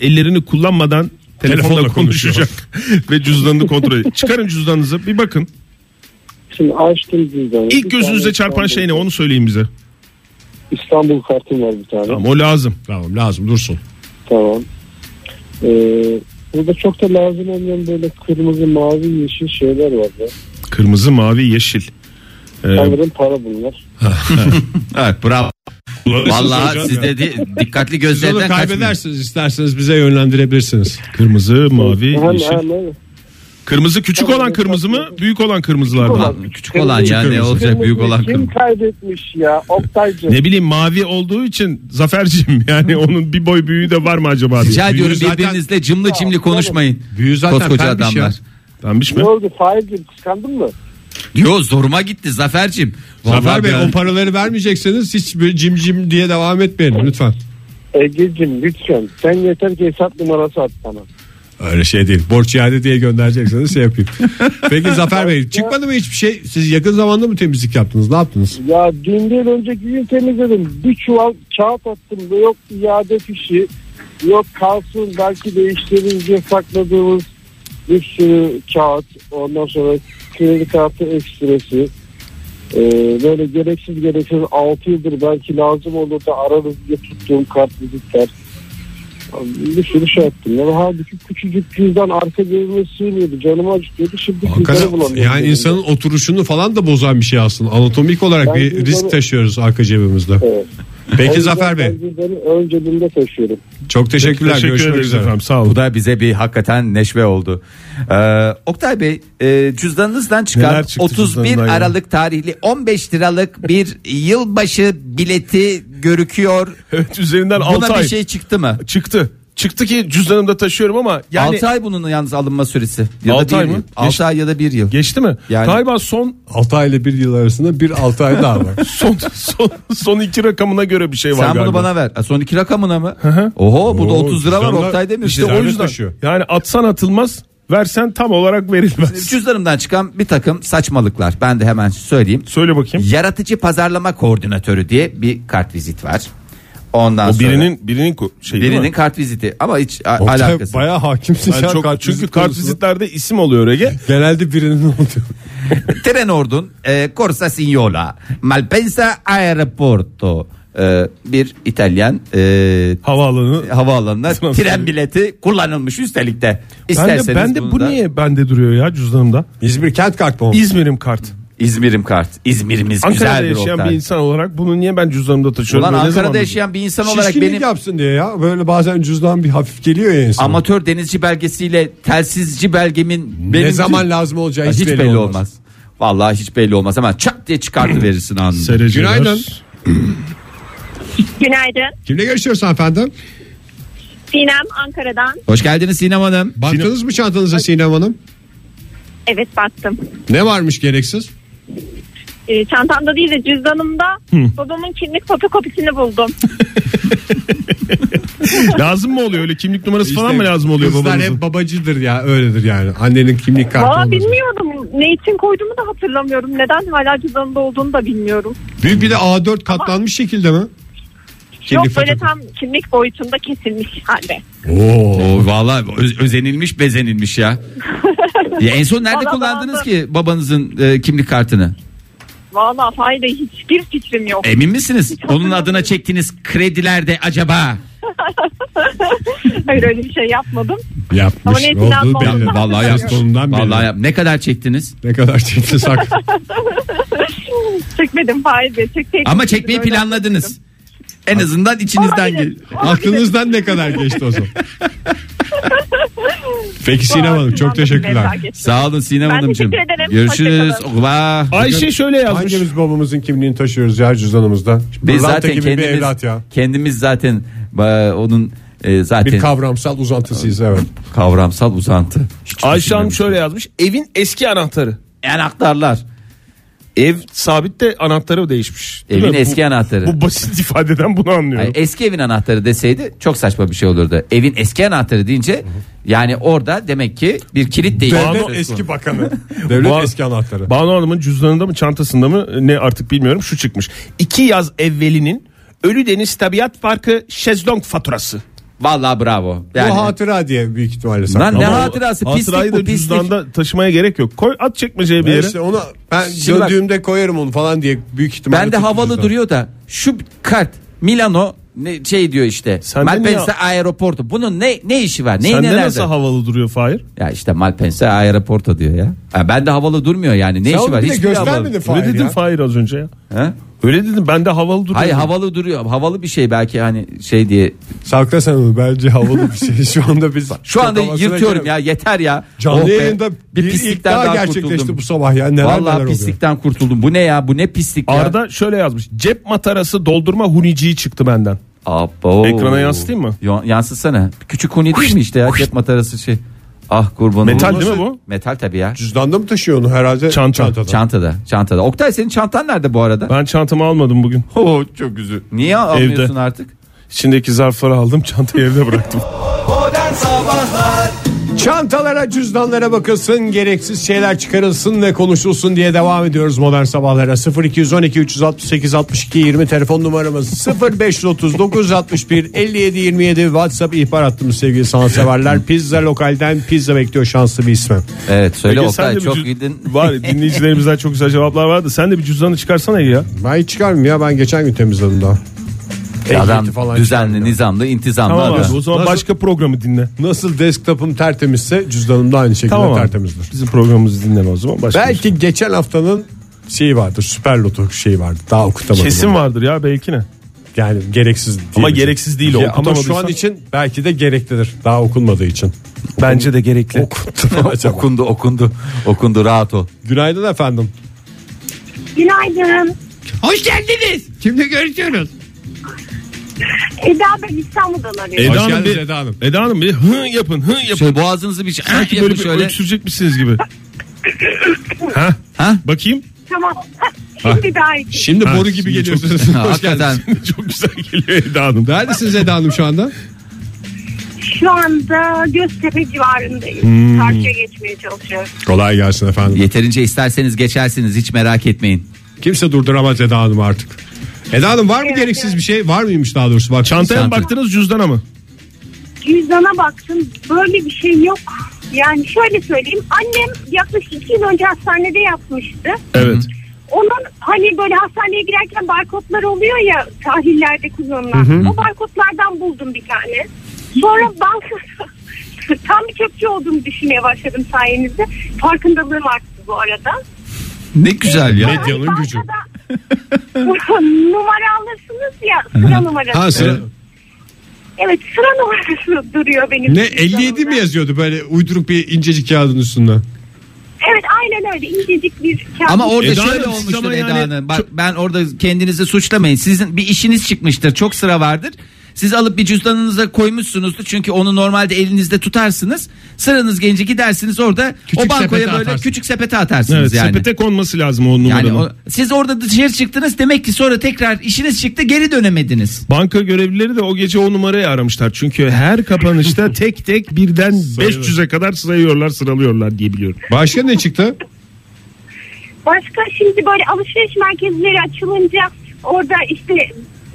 ellerini kullanmadan telefonla, Telefonla konuşuyor. konuşacak ve cüzdanını kontrol edin. Çıkarın cüzdanınızı bir bakın. Şimdi açtım cüzdanı. Bir İlk gözünüze tane çarpan İstanbul- şey ne onu söyleyin bize. İstanbul kartım var bir tane. Tamam. Tamam o lazım. Tamam lazım dursun. Ee, burada çok da lazım olmayan böyle kırmızı mavi yeşil şeyler var ya. Kırmızı, mavi, yeşil. Ee, Sanırım para bunlar. Evet bravo. Vallahi Hocam siz ya. de di- dikkatli Siz onu gözlerden kaçmayın. kaybedersiniz isterseniz bize yönlendirebilirsiniz. Kırmızı, mavi, Hem- yeşil. hem- hem- Kırmızı küçük olan kırmızı mı? Büyük olan kırmızılar mı? olan. Küçük olan ya ne Kırmızı. olacak büyük olan Kim kırmızı. kaybetmiş ya? Oktaycığım. Ne bileyim mavi olduğu için Zafer'cim yani onun bir boy büyüğü de var mı acaba diye. Rica ediyorum zaten- birbirinizle cımlı cimli konuşmayın. Büyü zaten Koskoca pembiş adamlar. ya. Tamammış mı? Ne oldu Fahir'cim kıskandın mı? Yo zoruma gitti Zafer'cim. Vallahi Zafer Bey bir- o paraları vermeyecekseniz hiç böyle cim cim diye devam etmeyin lütfen. Ege'cim E, lütfen sen yeter ki hesap numarası at bana. Öyle şey değil. Borç iade diye gönderecekseniz şey yapayım. Peki Zafer Bey çıkmadı mı hiçbir şey? Siz yakın zamanda mı temizlik yaptınız? Ne yaptınız? Ya dün değil önceki gün temizledim. Bir çuval kağıt attım da yok iade fişi yok kalsın belki değiştiririz diye sakladığımız bir sürü kağıt ondan sonra kredi kartı ekstresi Ee, böyle gereksiz gereksiz 6 yıldır belki lazım olur da ararız diye tuttuğum kart vizitler bir sürü şey attım. Yani halbuki küçücük cüzdan arka cebime sığmıyordu. Canımı acıtıyordu. Şimdi cüzdanı bulamıyorum. yani Dedim. insanın oturuşunu falan da bozan bir şey aslında. Anatomik olarak Ben bir risk cüzdanı- taşıyoruz arka cebimizde. Evet. O Peki yüzden Zafer Bey ben cüzdanı ön cebimde taşıyorum. çok teşekkürler. Teşekkür Görüşmek ederiz üzere. efendim Bu sağ olun. da bize bir hakikaten neşve oldu. Ee, Oktay Bey e, cüzdanınızdan Neler çıkan çıktı 31 cüzdanından ya? Aralık tarihli 15 liralık bir yılbaşı bileti görüküyor. Evet üzerinden 6 Buna bir ay şey çıktı mı? çıktı. Çıktı ki cüzdanımda taşıyorum ama yani 6 ay bunun yalnız alınma süresi. Ya Altı da ay bir mı? yıl. 6 ay ya da 1 yıl. geçti mi? Yani- Galiba son 6 ay ile 1 yıl arasında bir 6 ay daha var. son son son iki rakamına göre bir şey var Sen galiba. bunu bana ver. E, Son iki rakamına mı? Oho bu da Oo, 30 lira var cüzdanlar- Oktay Demir. İşte o Zerre yüzden taşıyor. yani atsan atılmaz versen tam olarak verilmez. Cüzdanımdan çıkan bir takım saçmalıklar. Ben de hemen söyleyeyim. Söyle bakayım. Yaratıcı pazarlama koordinatörü diye bir kart vizit var. Ondan O sonra birinin birinin ko- şeyi değil mi? birinin kart viziti ama hiç a- Oktay, alakası. yok. Bayağı hakimsin Yani sen çok, kartvizit çünkü konusunda. kartvizitlerde isim oluyor Ege. Genelde birinin oluyor. Trenordun, e, Corsa Signola, Malpensa Aeroporto. E, bir İtalyan e, Havaalanı. havaalanına Transfer. tren bileti kullanılmış üstelik de. Ben de, İsterseniz ben de bunu bu da- niye bende duruyor ya cüzdanımda? İzmir kent kart mı olmuş? İzmir'im kart. İzmir'im kart. İzmir'imiz Ankara'da güzeldir yaşayan Oktay. bir insan olarak bunu niye ben cüzdanımda taşıyorum? Ulan ve ne Ankara'da zamandır- yaşayan bir insan olarak Şişkinlik benim yapsın diye ya. Böyle bazen cüzdan bir hafif geliyor ya insana. amatör denizci belgesiyle telsizci belgemin benim ne zaman lazım olacağı hiç, belli, olmaz. Vallahi hiç belli olmaz ama çat diye çıkartı verirsin anında. Sereceler. Günaydın. Günaydın. Kimle görüşüyoruz efendim? Sinem Ankara'dan. Hoş geldiniz Sinem Hanım. Baktınız mı çantanıza Sinem Hanım? Evet baktım. Ne varmış gereksiz? Ee, çantamda değil de cüzdanımda babamın kimlik fotokopisini buldum. lazım mı oluyor öyle kimlik numarası falan mı lazım oluyor kızlar babanızın? hep babacıdır ya öyledir yani. Annenin kimlik kartı Valla olmaz. bilmiyordum. Ne için koyduğumu da hatırlamıyorum. Neden hala cüzdanımda olduğunu da bilmiyorum. Büyük bir de A4 katlanmış şekilde mi? Yok Kimlik böyle fotokopi. tam kimlik boyutunda kesilmiş halde. Oo vallahi öz- özenilmiş bezenilmiş ya. ya en son nerede Vallahi kullandınız bazı- ki babanızın e, kimlik kartını? Valla fayda hiçbir fikrim yok. E. Emin misiniz? Onun adına çektiğiniz kredilerde acaba? Hayır öyle bir şey yapmadım. Ama Yapmış. ne Olduğu plan belli. falan. Vallahi yapmış. Sonundan belli. Vallahi yap. Ne kadar çektiniz? Ne kadar çekti sak. Çekmedim fayda. Çekseydim Ama çekmeyi öyle planladınız. En azından içinizden Olabilir. gel. Aklınızdan ne kadar geçti o zaman? Peki hatırladım. Sinem Hanım çok Cüzdanımda bir teşekkürler. merak ettim. Sağ olun Sinem Ben Hanımcığım. teşekkür ederim. Görüşürüz. Hoşça Vah. Ayşe şöyle yazmış. Hangimiz babamızın kimliğini taşıyoruz ya cüzdanımızda? Biz Pırlanta zaten gibi kendimiz, bir evlat ya. kendimiz zaten e, onun e, zaten Bir kavramsal uzantısıyız evet. kavramsal uzantı. Hiç Ayşe Hanım düşünmemiştim. şöyle yazmış. Evin eski anahtarı. Anahtarlar. Ev sabit de anahtarı değişmiş. Değil Evin mi? eski Bu- anahtarı. Bu basit ifadeden bunu anlıyorum. Ay, eski evin anahtarı deseydi çok saçma bir şey olurdu. Evin eski anahtarı deyince yani orada demek ki bir kilit değişimi. Devlet söz eski konusu. bakanı. Devlet Ba- eski anahtarı. Banu Hanım'ın cüzdanında mı çantasında mı ne artık bilmiyorum şu çıkmış. İki yaz evvelinin Ölü Deniz Tabiat Parkı şezlong faturası. Vallahi bravo. Bu Yani hatıra diye büyük ihtimalle Lan saklı. ne Ama- hatırası pislik Hatırayı bu da pislik. cüzdanda taşımaya gerek yok. Koy at çekmeceye bir Ben yere. işte ona ben Şimdi bak- döndüğümde koyarım onu falan diye büyük ihtimalle. Ben de tuttu havalı cüzdan. duruyor da şu kart Milano ne, şey diyor işte. Sende Malpensa niye- aeroportu. Bunun ne ne işi var? Neyi Sende ne nasıl havalı duruyor Fahir? Ya işte Malpensa aeroporto diyor ya. Ha, ben de havalı durmuyor yani. Ne Sen işi onu var? bir de Hiçbir şey havalı- göstermedin Fahir Öyle dedin ya. Fahir az önce ya. Ha? Öyle dedim ben de havalı duruyor. Hayır havalı duruyor. Havalı bir şey belki hani şey diye. Sakla sen onu bence havalı bir şey. Şu anda biz Şu anda kafasına yırtıyorum göre- ya yeter ya. Canlı Oh be. yayında bir, ilk daha, gerçekleşti bu sabah ya. Neler Vallahi neler oluyor. pislikten kurtuldum. Bu ne ya? Bu ne pislik ya? Arda şöyle yazmış. Cep matarası doldurma huniciyi çıktı benden. Abo. Ekrana yansıtayım mı? Yo- yansıtsana. Küçük huni değil mi işte ya? Cep matarası şey. Ah kurban Metal olayım. değil mi bu? Metal tabii ya. Cüzdanda mı taşıyor onu herhalde? Çanta. Çantada. Çantada, çantada. Oktay senin çantan nerede bu arada? Ben çantamı almadım bugün. Oo, çok güzel. Niye almıyorsun Evde. artık? İçindeki zarfları aldım çantayı evde bıraktım. Modern Sabahlar Çantalara cüzdanlara bakılsın gereksiz şeyler çıkarılsın ve konuşulsun diye devam ediyoruz modern sabahlara 0212 368 62 20 telefon numaramız 0530 961 57 27 whatsapp ihbar hattımız sevgili sanatseverler pizza lokalden pizza bekliyor şanslı bir ismi Evet söyle Ege, sen Oktay de bir çok cüz- gidin. Var ya, dinleyicilerimizden çok güzel cevaplar vardı. Sen de bir cüzdanı çıkarsana Ege ya. ben hiç çıkarmıyorum ya ben geçen gün temizledim daha Adam Ehliyeti falan düzenli, nizamlı, intizamlı Tamam adam. abi, o zaman Nasıl- başka programı dinle. nasıl desktop'um tertemizse cüzdanım da aynı şekilde Tamam abi. tertemizdir Bizim programımızı dinleme o zaman. Başka bir şey. belki geçen haftanın şeyi vardır süper loto şeyi vardı daha okutamadım Kesin onu. vardır ya belki ne? Yani gereksiz değil. Ama gereksiz değil, o ama şu an okutamadıysan- için belki de gereklidir. Daha okunmadığı için. Bence de gerekli. Okuttu mu acaba? okundu, okundu, okundu rahat ol. Günaydın efendim. Günaydın. Hoş geldiniz. Kimle görüşüyoruz? Eda E, ben İstanbul'dan E- arıyorum. Eda Hanım, bir, Eda Hanım. bir hı yapın hı yapın. Şöyle boğazınızı bir Ah, Sanki Şey, yapın böyle bir şöyle. öksürecekmişsiniz gibi. ha? ha? Bakayım. Tamam. Şimdi daha iyi. Şimdi Ha, boru gibi şimdi çok- geliyorsunuz. Ha, Hoş hakikaten. geldiniz. çok güzel geliyor Eda Hanım. Neredesiniz Eda Hanım şu anda? Şu anda Göztepe civarındayım. Hmm. Karşıya geçmeye çalışıyorum. Kolay gelsin efendim. Yeterince isterseniz geçersiniz hiç merak etmeyin. Kimse durduramaz Eda Hanım artık. Eda Hanım var mı gereksiz bir şey? Var mıymış daha doğrusu? Bak, Çantaya mı baktınız cüzdana mı? Cüzdana baktım böyle bir şey yok. Yani şöyle söyleyeyim annem yaklaşık iki yıl önce hastanede yapmıştı. Evet. Onun hani böyle hastaneye girerken barkodlar oluyor ya tahlillerde kullanılan. Hı hı. O barkodlardan buldum bir tane. Sonra bankada tam bir çöpçü olduğumu düşünmeye başladım sayenizde. Farkındalığım arttı bu arada. Ne güzel ya. Medyanın gücü. numara alırsınız ya sıra numarası. Ha, sıra- Evet. Evet sıra numarası duruyor benim. Ne 57 mi yazıyordu böyle uyduruk bir incecik kağıdın üstünde? Evet aynen öyle incecik bir kağıt. Ama orada şöyle olmuştur Eda Hanım. Bak ben orada kendinizi suçlamayın. Sizin bir işiniz çıkmıştır. Çok sıra vardır. Siz alıp bir cüzdanınıza koymuşsunuzdur. Çünkü onu normalde elinizde tutarsınız. Sıranız gelince gidersiniz orada Küçük o bankoya sepete böyle atarsınız. küçük sepete atarsınız evet, yani. Sepete konması lazım o numaranın. Yani o- siz orada dışarı çıktınız demek ki sonra tekrar işiniz çıktı geri dönemediniz. Banka görevlileri de o gece o numarayı aramışlar. Çünkü her kapanışta tek tek birden 500'e kadar sayıyorlar sıralıyorlar diye biliyorum. Başka ne çıktı? Başka şimdi böyle alışveriş merkezleri açılınca orada işte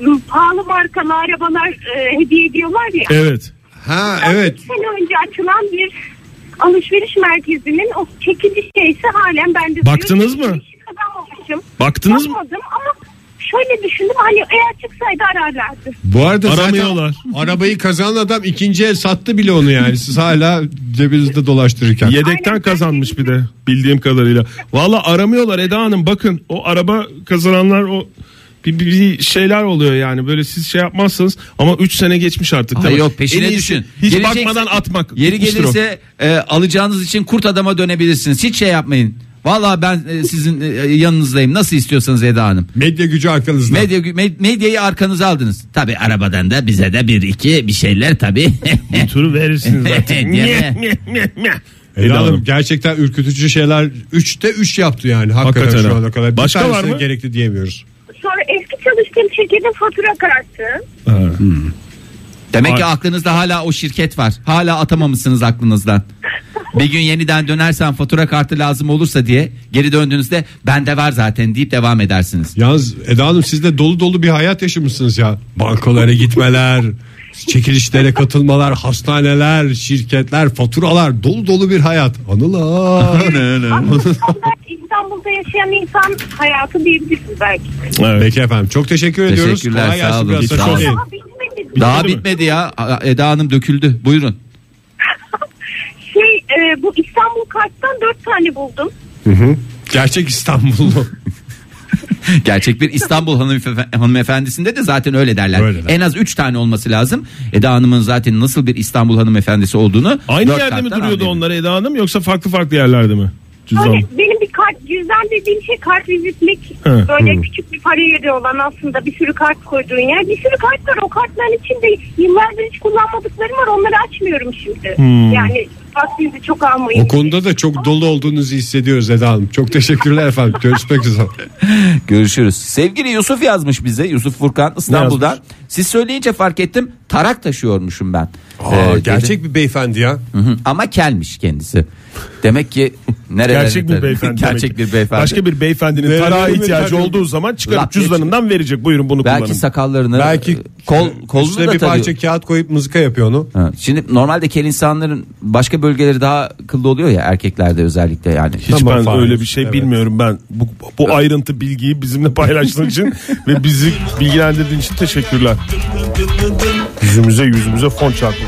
m, pahalı markalı arabalar e, hediye ediyorlar ya. Evet. Ha Ben evet. iki sene önce açılan bir alışveriş merkezinin o çekici şeysi halen bende duruyor. Baktınız mı? Hiç kazanmamışım. Baktınız mı? Bakmadım ama şöyle düşündüm hani eğer çıksaydı ararlardı. Bu arada Aramıyorlar. zaten arabayı kazanan adam ikinci el sattı bile onu yani. Siz hala cebinizde dolaştırırken. Yedekten kazanmış bir de bildiğim kadarıyla. Valla aramıyorlar Eda Hanım bakın o araba kazananlar o bir, bir- bir şeyler oluyor yani böyle siz şey yapmazsınız ama 3 sene geçmiş artık. Ay tabii. yok, peşine En iyisi düşün. Hiç Gelecekse- bakmadan atmak. Yeri Tutmuştur o. gelirse e, alacağınız için kurt adama dönebilirsiniz. Hiç şey yapmayın. Vallahi ben e, sizin e, yanınızdayım. Nasıl istiyorsanız Eda Hanım. Medya gücü arkanızda. Medya, gü- med- medyayı arkanıza aldınız. Tabi arabadan da bize de bir iki bir şeyler tabi. bir turu verirsiniz zaten. Eda Hanım, gerçekten ürkütücü şeyler 3'te 3 yaptı yani hakikaten, Hakikaten şu ha. ana kadar. Bir Başka tanesine var mı? gerekli diyemiyoruz. Sonra eski çalıştığım şirketin fatura kararttı. Demek ki aklınızda hala o şirket var. Hala atamamışsınız aklınızdan. bir gün yeniden dönersen fatura kartı lazım olursa diye geri döndüğünüzde bende var zaten deyip devam edersiniz. Yalnız Eda Hanım siz de dolu dolu bir hayat yaşamışsınız ya. Bankalara gitmeler, çekilişlere katılmalar, hastaneler, şirketler, faturalar dolu dolu bir hayat. Anılar. Aslında İstanbul'da yaşayan insan hayatı diyebilirsin belki. Peki efendim çok teşekkür ediyoruz. Teşekkürler, Kolay gelsin sağ olun, biraz biz sonra sağ çok olun. iyi. Daha bitmedi. Daha bitmedi ya. A- Eda Hanım döküldü. Buyurun. Şey e, bu İstanbul karttan dört tane buldum. Gerçek İstanbullu. Gerçek bir İstanbul hanımefendi, hanımefendisinde de zaten öyle derler. Öyleler. En az 3 tane olması lazım. Eda Hanım'ın zaten nasıl bir İstanbul hanımefendisi olduğunu. Aynı dört yerde mi karttan duruyordu anlayabilir. onlar Eda Hanım yoksa farklı farklı yerlerde mi? Cüzdan. Böyle benim bir kart cüzdan dediğim şey kart vizitlik. He. Böyle Hı. küçük bir para yeri olan aslında bir sürü kart koyduğun yer. Bir sürü kart var o kartların içinde yıllardır hiç kullanmadıklarım var onları açmıyorum şimdi. Hmm. Yani vaktinizi çok almayın. O konuda da çok dolu olduğunuzu hissediyoruz Eda Hanım. Çok teşekkürler efendim. Görüşmek üzere. Görüşürüz. Sevgili Yusuf yazmış bize. Yusuf Furkan İstanbul'dan. Siz söyleyince fark ettim. Tarak taşıyormuşum ben. Ee, Aa, gerçek bir beyefendi ya. Ama kelmiş kendisi. Demek ki nerelerde Gerçek bir beyefendi. Gerçek demek ki. bir beyefendi. Başka bir beyefendinin Nerelerde tarağa bir ihtiyacı beyefendi? olduğu zaman çıkarıp Laf diye cüzdanından verecek. Buyurun bunu Belki kullanın. sakallarını e, Belki kol kolunu üstüne da bir parça kağıt koyup mızıka yapıyor onu. Şimdi normalde kel insanların başka bölgeleri daha kıllı oluyor ya erkeklerde özellikle yani. Hiç ben öyle bir şey bilmiyorum ben. Bu, bu ayrıntı bilgiyi bizimle paylaştığın için ve bizi bilgilendirdiğin için teşekkürler. Yüzümüze yüzümüze fon çarptı.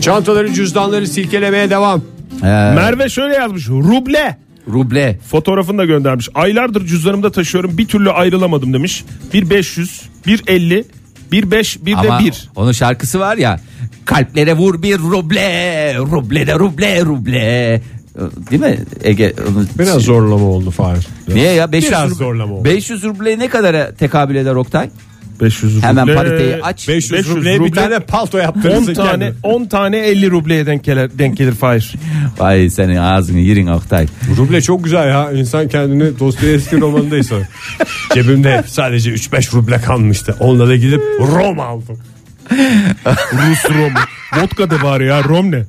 Çantaları cüzdanları silkelemeye devam. Merve şöyle yazmış. Ruble. Ee, Ruble. Fotoğrafını da göndermiş. Aylardır cüzdanımda taşıyorum bir türlü ayrılamadım demiş. Bir 500, bir 50, Bir beş bir Ama de bir. onun şarkısı var ya. Kalplere vur bir ruble, ruble de ruble ruble. Ee, Değil mi Ege? Biraz zorlama oldu Fahir. Niye ya? 500, Biraz zorlama oldu. 500 ruble ne kadara tekabül eder Oktay? 500 ruble. Hemen pariteyi aç. 500, 500 rubleye ruble- bir tane palto 10 tane 10 tane 50 rubleye denk gelir denk gelir Fahir. Vay senin ağzını yirin Oktay. Ruble çok güzel ya. İnsan kendini Dostoyevski romanındaysa. Cebimde sadece 3-5 ruble kalmıştı. Onunla da gidip Roma aldım. Rus romu. Vodka da var ya rom ne?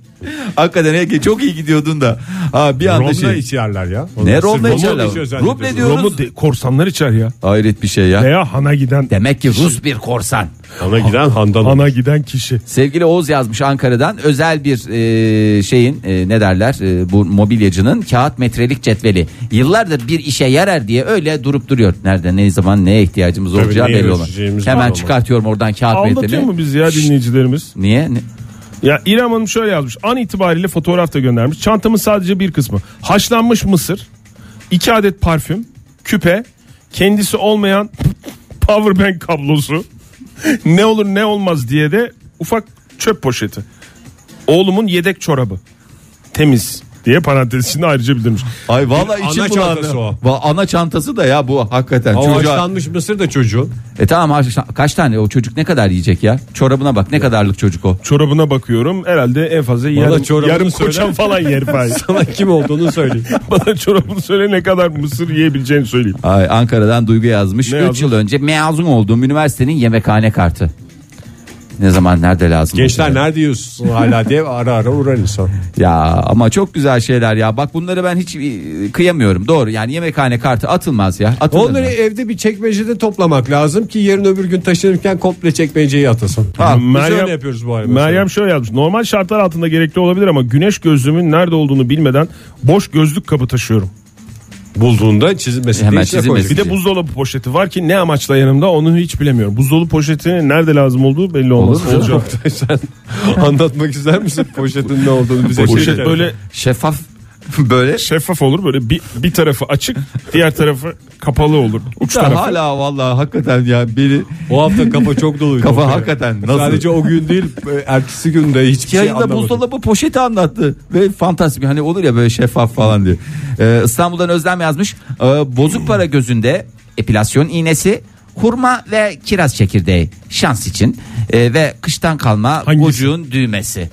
Hakikaten Ege çok iyi gidiyordun da. Ha, bir anda Romla şey. içerler ya. ne Onlar Romla sırf içerler? içiyor zannediyorsun. Ruble diyoruz. Romu de- korsanlar içer ya. Hayret bir şey ya. E- Veya hana giden Demek ki Rus bir korsan. Ana giden handan olur. hana giden kişi. Sevgili Oğuz yazmış Ankara'dan özel bir e, şeyin e, ne derler e, bu mobilyacının kağıt metrelik cetveli. Yıllardır bir işe yarar diye öyle durup duruyor. Nerede ne zaman neye ihtiyacımız Tabii, olacağı neye belli olan. ölçeceğimiz Hemen var çıkartıyorum oradan kağıt Aldatıyor metreli. mu biz ya dinleyicilerimiz? Niye? Ne- Ya İrem Hanım şöyle yazmış. An itibariyle fotoğraf da göndermiş. Çantamın sadece bir kısmı. Haşlanmış mısır, iki adet parfüm, küpe, kendisi olmayan powerbank kablosu. ne olur ne olmaz diye de ufak çöp poşeti. Oğlumun yedek çorabı. Temiz diye parantez içinde ayrıca bildirmiş. Ay vallahi Bir içim ana bulandı. çantası o. Va- Ana çantası da ya bu hakikaten. Ama Çocuğa- haşlanmış mısır da çocuğun. E tamam haşlan- kaç tane o çocuk ne kadar yiyecek ya? Çorabına bak ne kadarlık çocuk o. Çorabına bakıyorum. Herhalde en fazla yarım, çorabını yarım söyle. koçan falan yer. Fahir. Sana kim olduğunu söyleyeyim. Bana çorabını söyle ne kadar mısır yiyebileceğini söyleyeyim. Ay, Ankara'dan Duygu yazmış. Ne 3 yazmış? yıl önce mezun olduğum üniversitenin yemekhane kartı. Ne zaman nerede lazım? Gençler olacak? nerede yiyorsun hala diye ara ara uğrar insan. Ya ama çok güzel şeyler ya. Bak bunları ben hiç e, kıyamıyorum. Doğru yani yemekhane kartı atılmaz ya. Atılır Onları mı? evde bir çekmecede toplamak lazım ki yarın öbür gün taşınırken komple çekmeceyi atasın. Ha, biz öyle yapıyoruz bu arada. Meryem şöyle yazmış. Normal şartlar altında gerekli olabilir ama güneş gözlüğümün nerede olduğunu bilmeden boş gözlük kabı taşıyorum. bulduğunda çizilmesini Hemen Hemen içine çizilmesi. koyacaksın. Bir de buzdolabı poşeti var ki ne amaçla yanımda onu hiç bilemiyorum. Buzdolabı poşetinin nerede lazım olduğu belli olmaz. Olur mu? Olacak. Oktay, sen anlatmak ister misin poşetin ne olduğunu bize? Poşet Şey- böyle Şeffaf böyle. şeffaf olur böyle bir, bir tarafı açık diğer tarafı kapalı olur. Uç Ya tarafı. hala vallahi hakikaten ya biri O hafta kafa çok doluydu. Kafa Oktay. hakikaten nasıl? Sadece o gün değil e, ertesi gün de hiçbir şey Yayında anlamadım. buzdolabı poşeti anlattı ve fantastik hani olur ya böyle şeffaf falan diye. Ee, İstanbul'dan Özlem yazmış. Ee, bozuk para gözünde epilasyon iğnesi, hurma ve kiraz çekirdeği şans için Ee, ve kıştan kalma Hangisi? gocuğun düğmesi.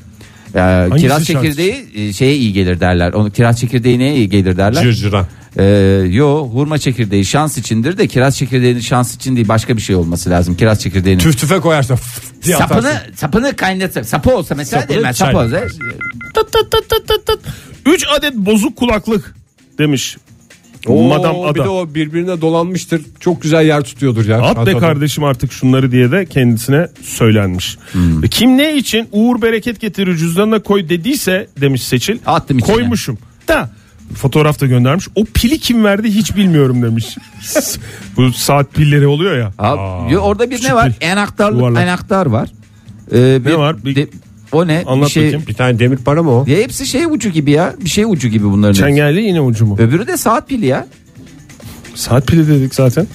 Ee, kiraz şans? çekirdeği e, şeye iyi gelir derler. Onu kiraz çekirdeği neye iyi gelir derler? Cırcıra. Ee, yo hurma çekirdeği şans içindir de kiraz çekirdeğinin şans için değil başka bir şey olması lazım. Kiraz çekirdeğinin Tüf tüfe koyarsa fıf diye sapını atarsın. sapını kaynatır. Sapı olsa mesela Sapını değil mi? Sapı çay. olsa. 3 adet bozuk kulaklık demiş. Oo, Madam Bir de Ada. o birbirine dolanmıştır. Çok güzel yer tutuyordur ya. At be Adada. kardeşim artık şunları diye de kendisine söylenmiş. Hmm. E, Kim ne için uğur bereket getirir cüzdanına koy dediyse demiş Seçil. Attım içine. Koymuşum. Da fotoğrafta göndermiş. O pili kim verdi hiç bilmiyorum demiş. Bu saat pilleri oluyor ya. Abi, yo, orada bir ne küçük var? bir Enaktarlık yuvarlak. enaktar var. Ee, bir- Ne var? Bir- de- o ne? Anlat bir şey, bakayım. Bir tane demir para mı o? Ya hepsi şey ucu gibi ya. Bir şey ucu gibi bunların. hepsi. Çengelli yine ucu mu? Öbürü de saat pili ya. Saat pili dedik zaten.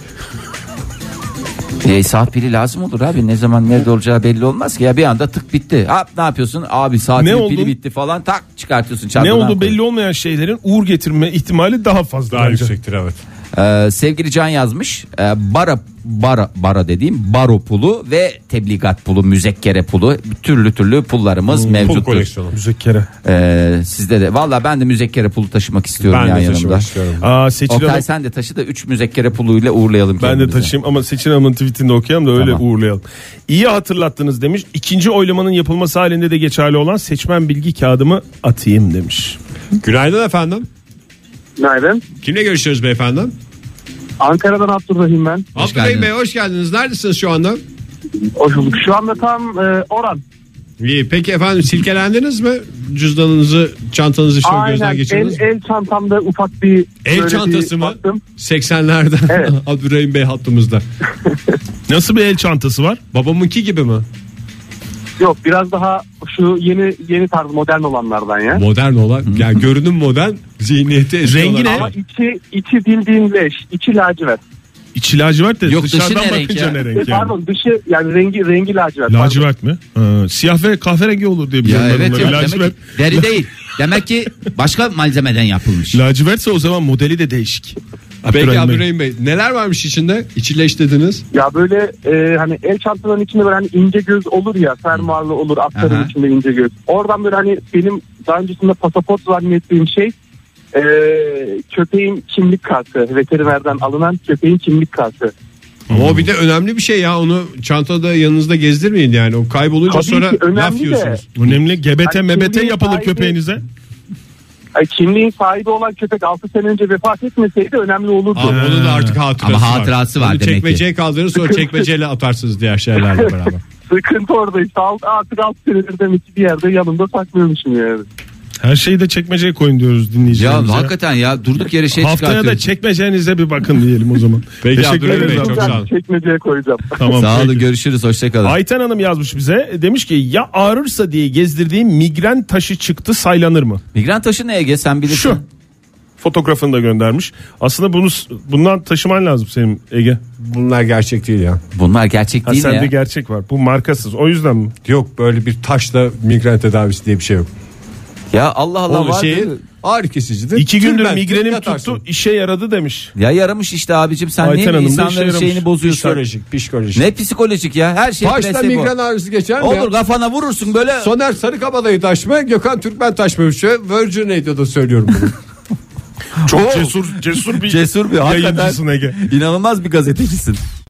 E, saat pili lazım olur abi. Ne zaman nerede olacağı belli olmaz ki. Ya bir anda tık bitti. Ha, ne yapıyorsun? Abi saat Ne pili, oldu? pili bitti falan. Tak çıkartıyorsun. Ne çantadan olduğu koy. belli olmayan şeylerin uğur getirme ihtimali daha fazla. Daha bence. yüksektir evet. Ee, sevgili Can yazmış Ee, bara bara bara dediğim baro pulu ve tebligat pulu müzekkere pulu türlü türlü pullarımız Pul mevcuttur. koleksiyonu. Müzekkere. Ee, sizde de valla ben de müzekkere pulu taşımak istiyorum Ben ya de yanımda. taşımak istiyorum. Aa, Seçil Oktay Hanım- sen de taşı da 3 müzekkere puluyla uğurlayalım Ben de kendimizi. taşıyayım ama Seçil Hanım'ın tweetini de okuyalım da öyle Tamam. uğurlayalım. İyi hatırlattınız demiş. İkinci oylamanın yapılması halinde de geçerli olan seçmen bilgi kağıdımı atayım demiş. Günaydın efendim. Günaydın. Kimle görüşüyoruz beyefendi? Ankara'dan Abdurrahim ben. Abdurrahim geldiniz. Bey hoş geldiniz. Neredesiniz şu anda? Hoş bulduk. Şu anda tam e, Oran. İyi. Peki efendim silkelendiniz mi? Cüzdanınızı, çantanızı şöyle Aynen. gözden geçirdiniz El, mi? el çantamda ufak bir... El böyle çantası bir mı? baktım. 80'lerde Evet. Abdurrahim Bey hattımızda. Nasıl bir el çantası var? Babamınki gibi mi? Yok biraz daha şu yeni yeni tarz modern olanlardan ya. Modern olan. Yani görünüm modern, zihniyeti eski Rengi olan. ne? Ama içi, içi bildiğin leş. içi lacivert. İçi lacivert de Yok, dışı dışarıdan ne renk bakınca ya? ne E, renk yani? Pardon dışı yani rengi rengi lacivert. Lacivert mi? Ha, siyah ve kahverengi olur diye biliyorum Ya ben evet onları. yok, Lacivert- demek ki deri değil. Demek ki başka malzemeden yapılmış. Lacivertse o zaman modeli de değişik. Peki Abdurrahim Bey. Abdurrahim Bey neler varmış içinde? İçileştirdiniz. Ya böyle e, hani el çantalarının içinde böyle hani ince göz olur ya fermuarlı olur atların Aha. içinde ince göz. Oradan böyle hani benim daha öncesinde pasaport zannettiğim şey e, köpeğin kimlik kartı veterinerden alınan köpeğin kimlik kartı. Hmm. Ama o bir de önemli bir şey ya onu çantada yanınızda gezdirmeyin yani o kaybolunca Tabii sonra ki önemli laf de. yiyorsunuz. Önemli gebete Hani mebete kimliğin yapılır sahibi- köpeğinize. Ay, kimliğin sahibi olan köpek 6 sene önce vefat etmeseydi önemli olurdu. Ama onun da artık hatırası Ama var. hatırası var Onu demek ki. çekmeceye kaldırır sonra çekmeceyle atarsınız diğer şeylerle beraber. Sıkıntı orada işte Alt- artık 6 senedir demek ki bir yerde yanımda saklıyormuşum yani. Her şeyi de çekmeceye koyun diyoruz dinleyicilerimize. Ya hakikaten ya durduk yere şey Haftaya da çıkartıyoruz. çekmecenize bir bakın diyelim o zaman. Peki Teşekkür Abdurrahim ederiz. Bey, çok Abdurrahim. sağ olun. Çekmeceye koyacağım. Tamam, Sağ olun peki. görüşürüz hoşçakalın. Ayten Hanım yazmış bize. Demiş ki ya ağrırsa diye gezdirdiğim migren taşı çıktı saylanır mı? Migren taşı ne Ege sen bilirsin. Şu. Fotoğrafını da göndermiş. Aslında bunu bundan taşıman lazım senin Ege. Bunlar gerçek değil ya. Bunlar gerçek Ha, değil mi sende ya? gerçek var. Bu markasız. O yüzden mi? Yok böyle bir taşla migren tedavisi diye bir şey yok. ya Allah Allah Onun var. şey- şeyi ağrı kesicidir. İki gündür Tülbent, migrenim yatarsın. tuttu işe yaradı demiş. Ya yaramış işte abicim sen Ayten niye Hanım da işe insanların yaramış. şeyini bozuyorsun? Psikolojik, psikolojik. Ne psikolojik ya her şey Taşla placebo. migren ağrısı geçer mi Olur ya? kafana vurursun böyle. Soner Sarıkabadayı taş mı? Gökhan Türkmen taş mı? Şu Virgin Radio'da söylüyorum bunu. Çok cesur cesur bir Cesur bir hakikaten yayıncısın Ege. inanılmaz bir gazetecisin.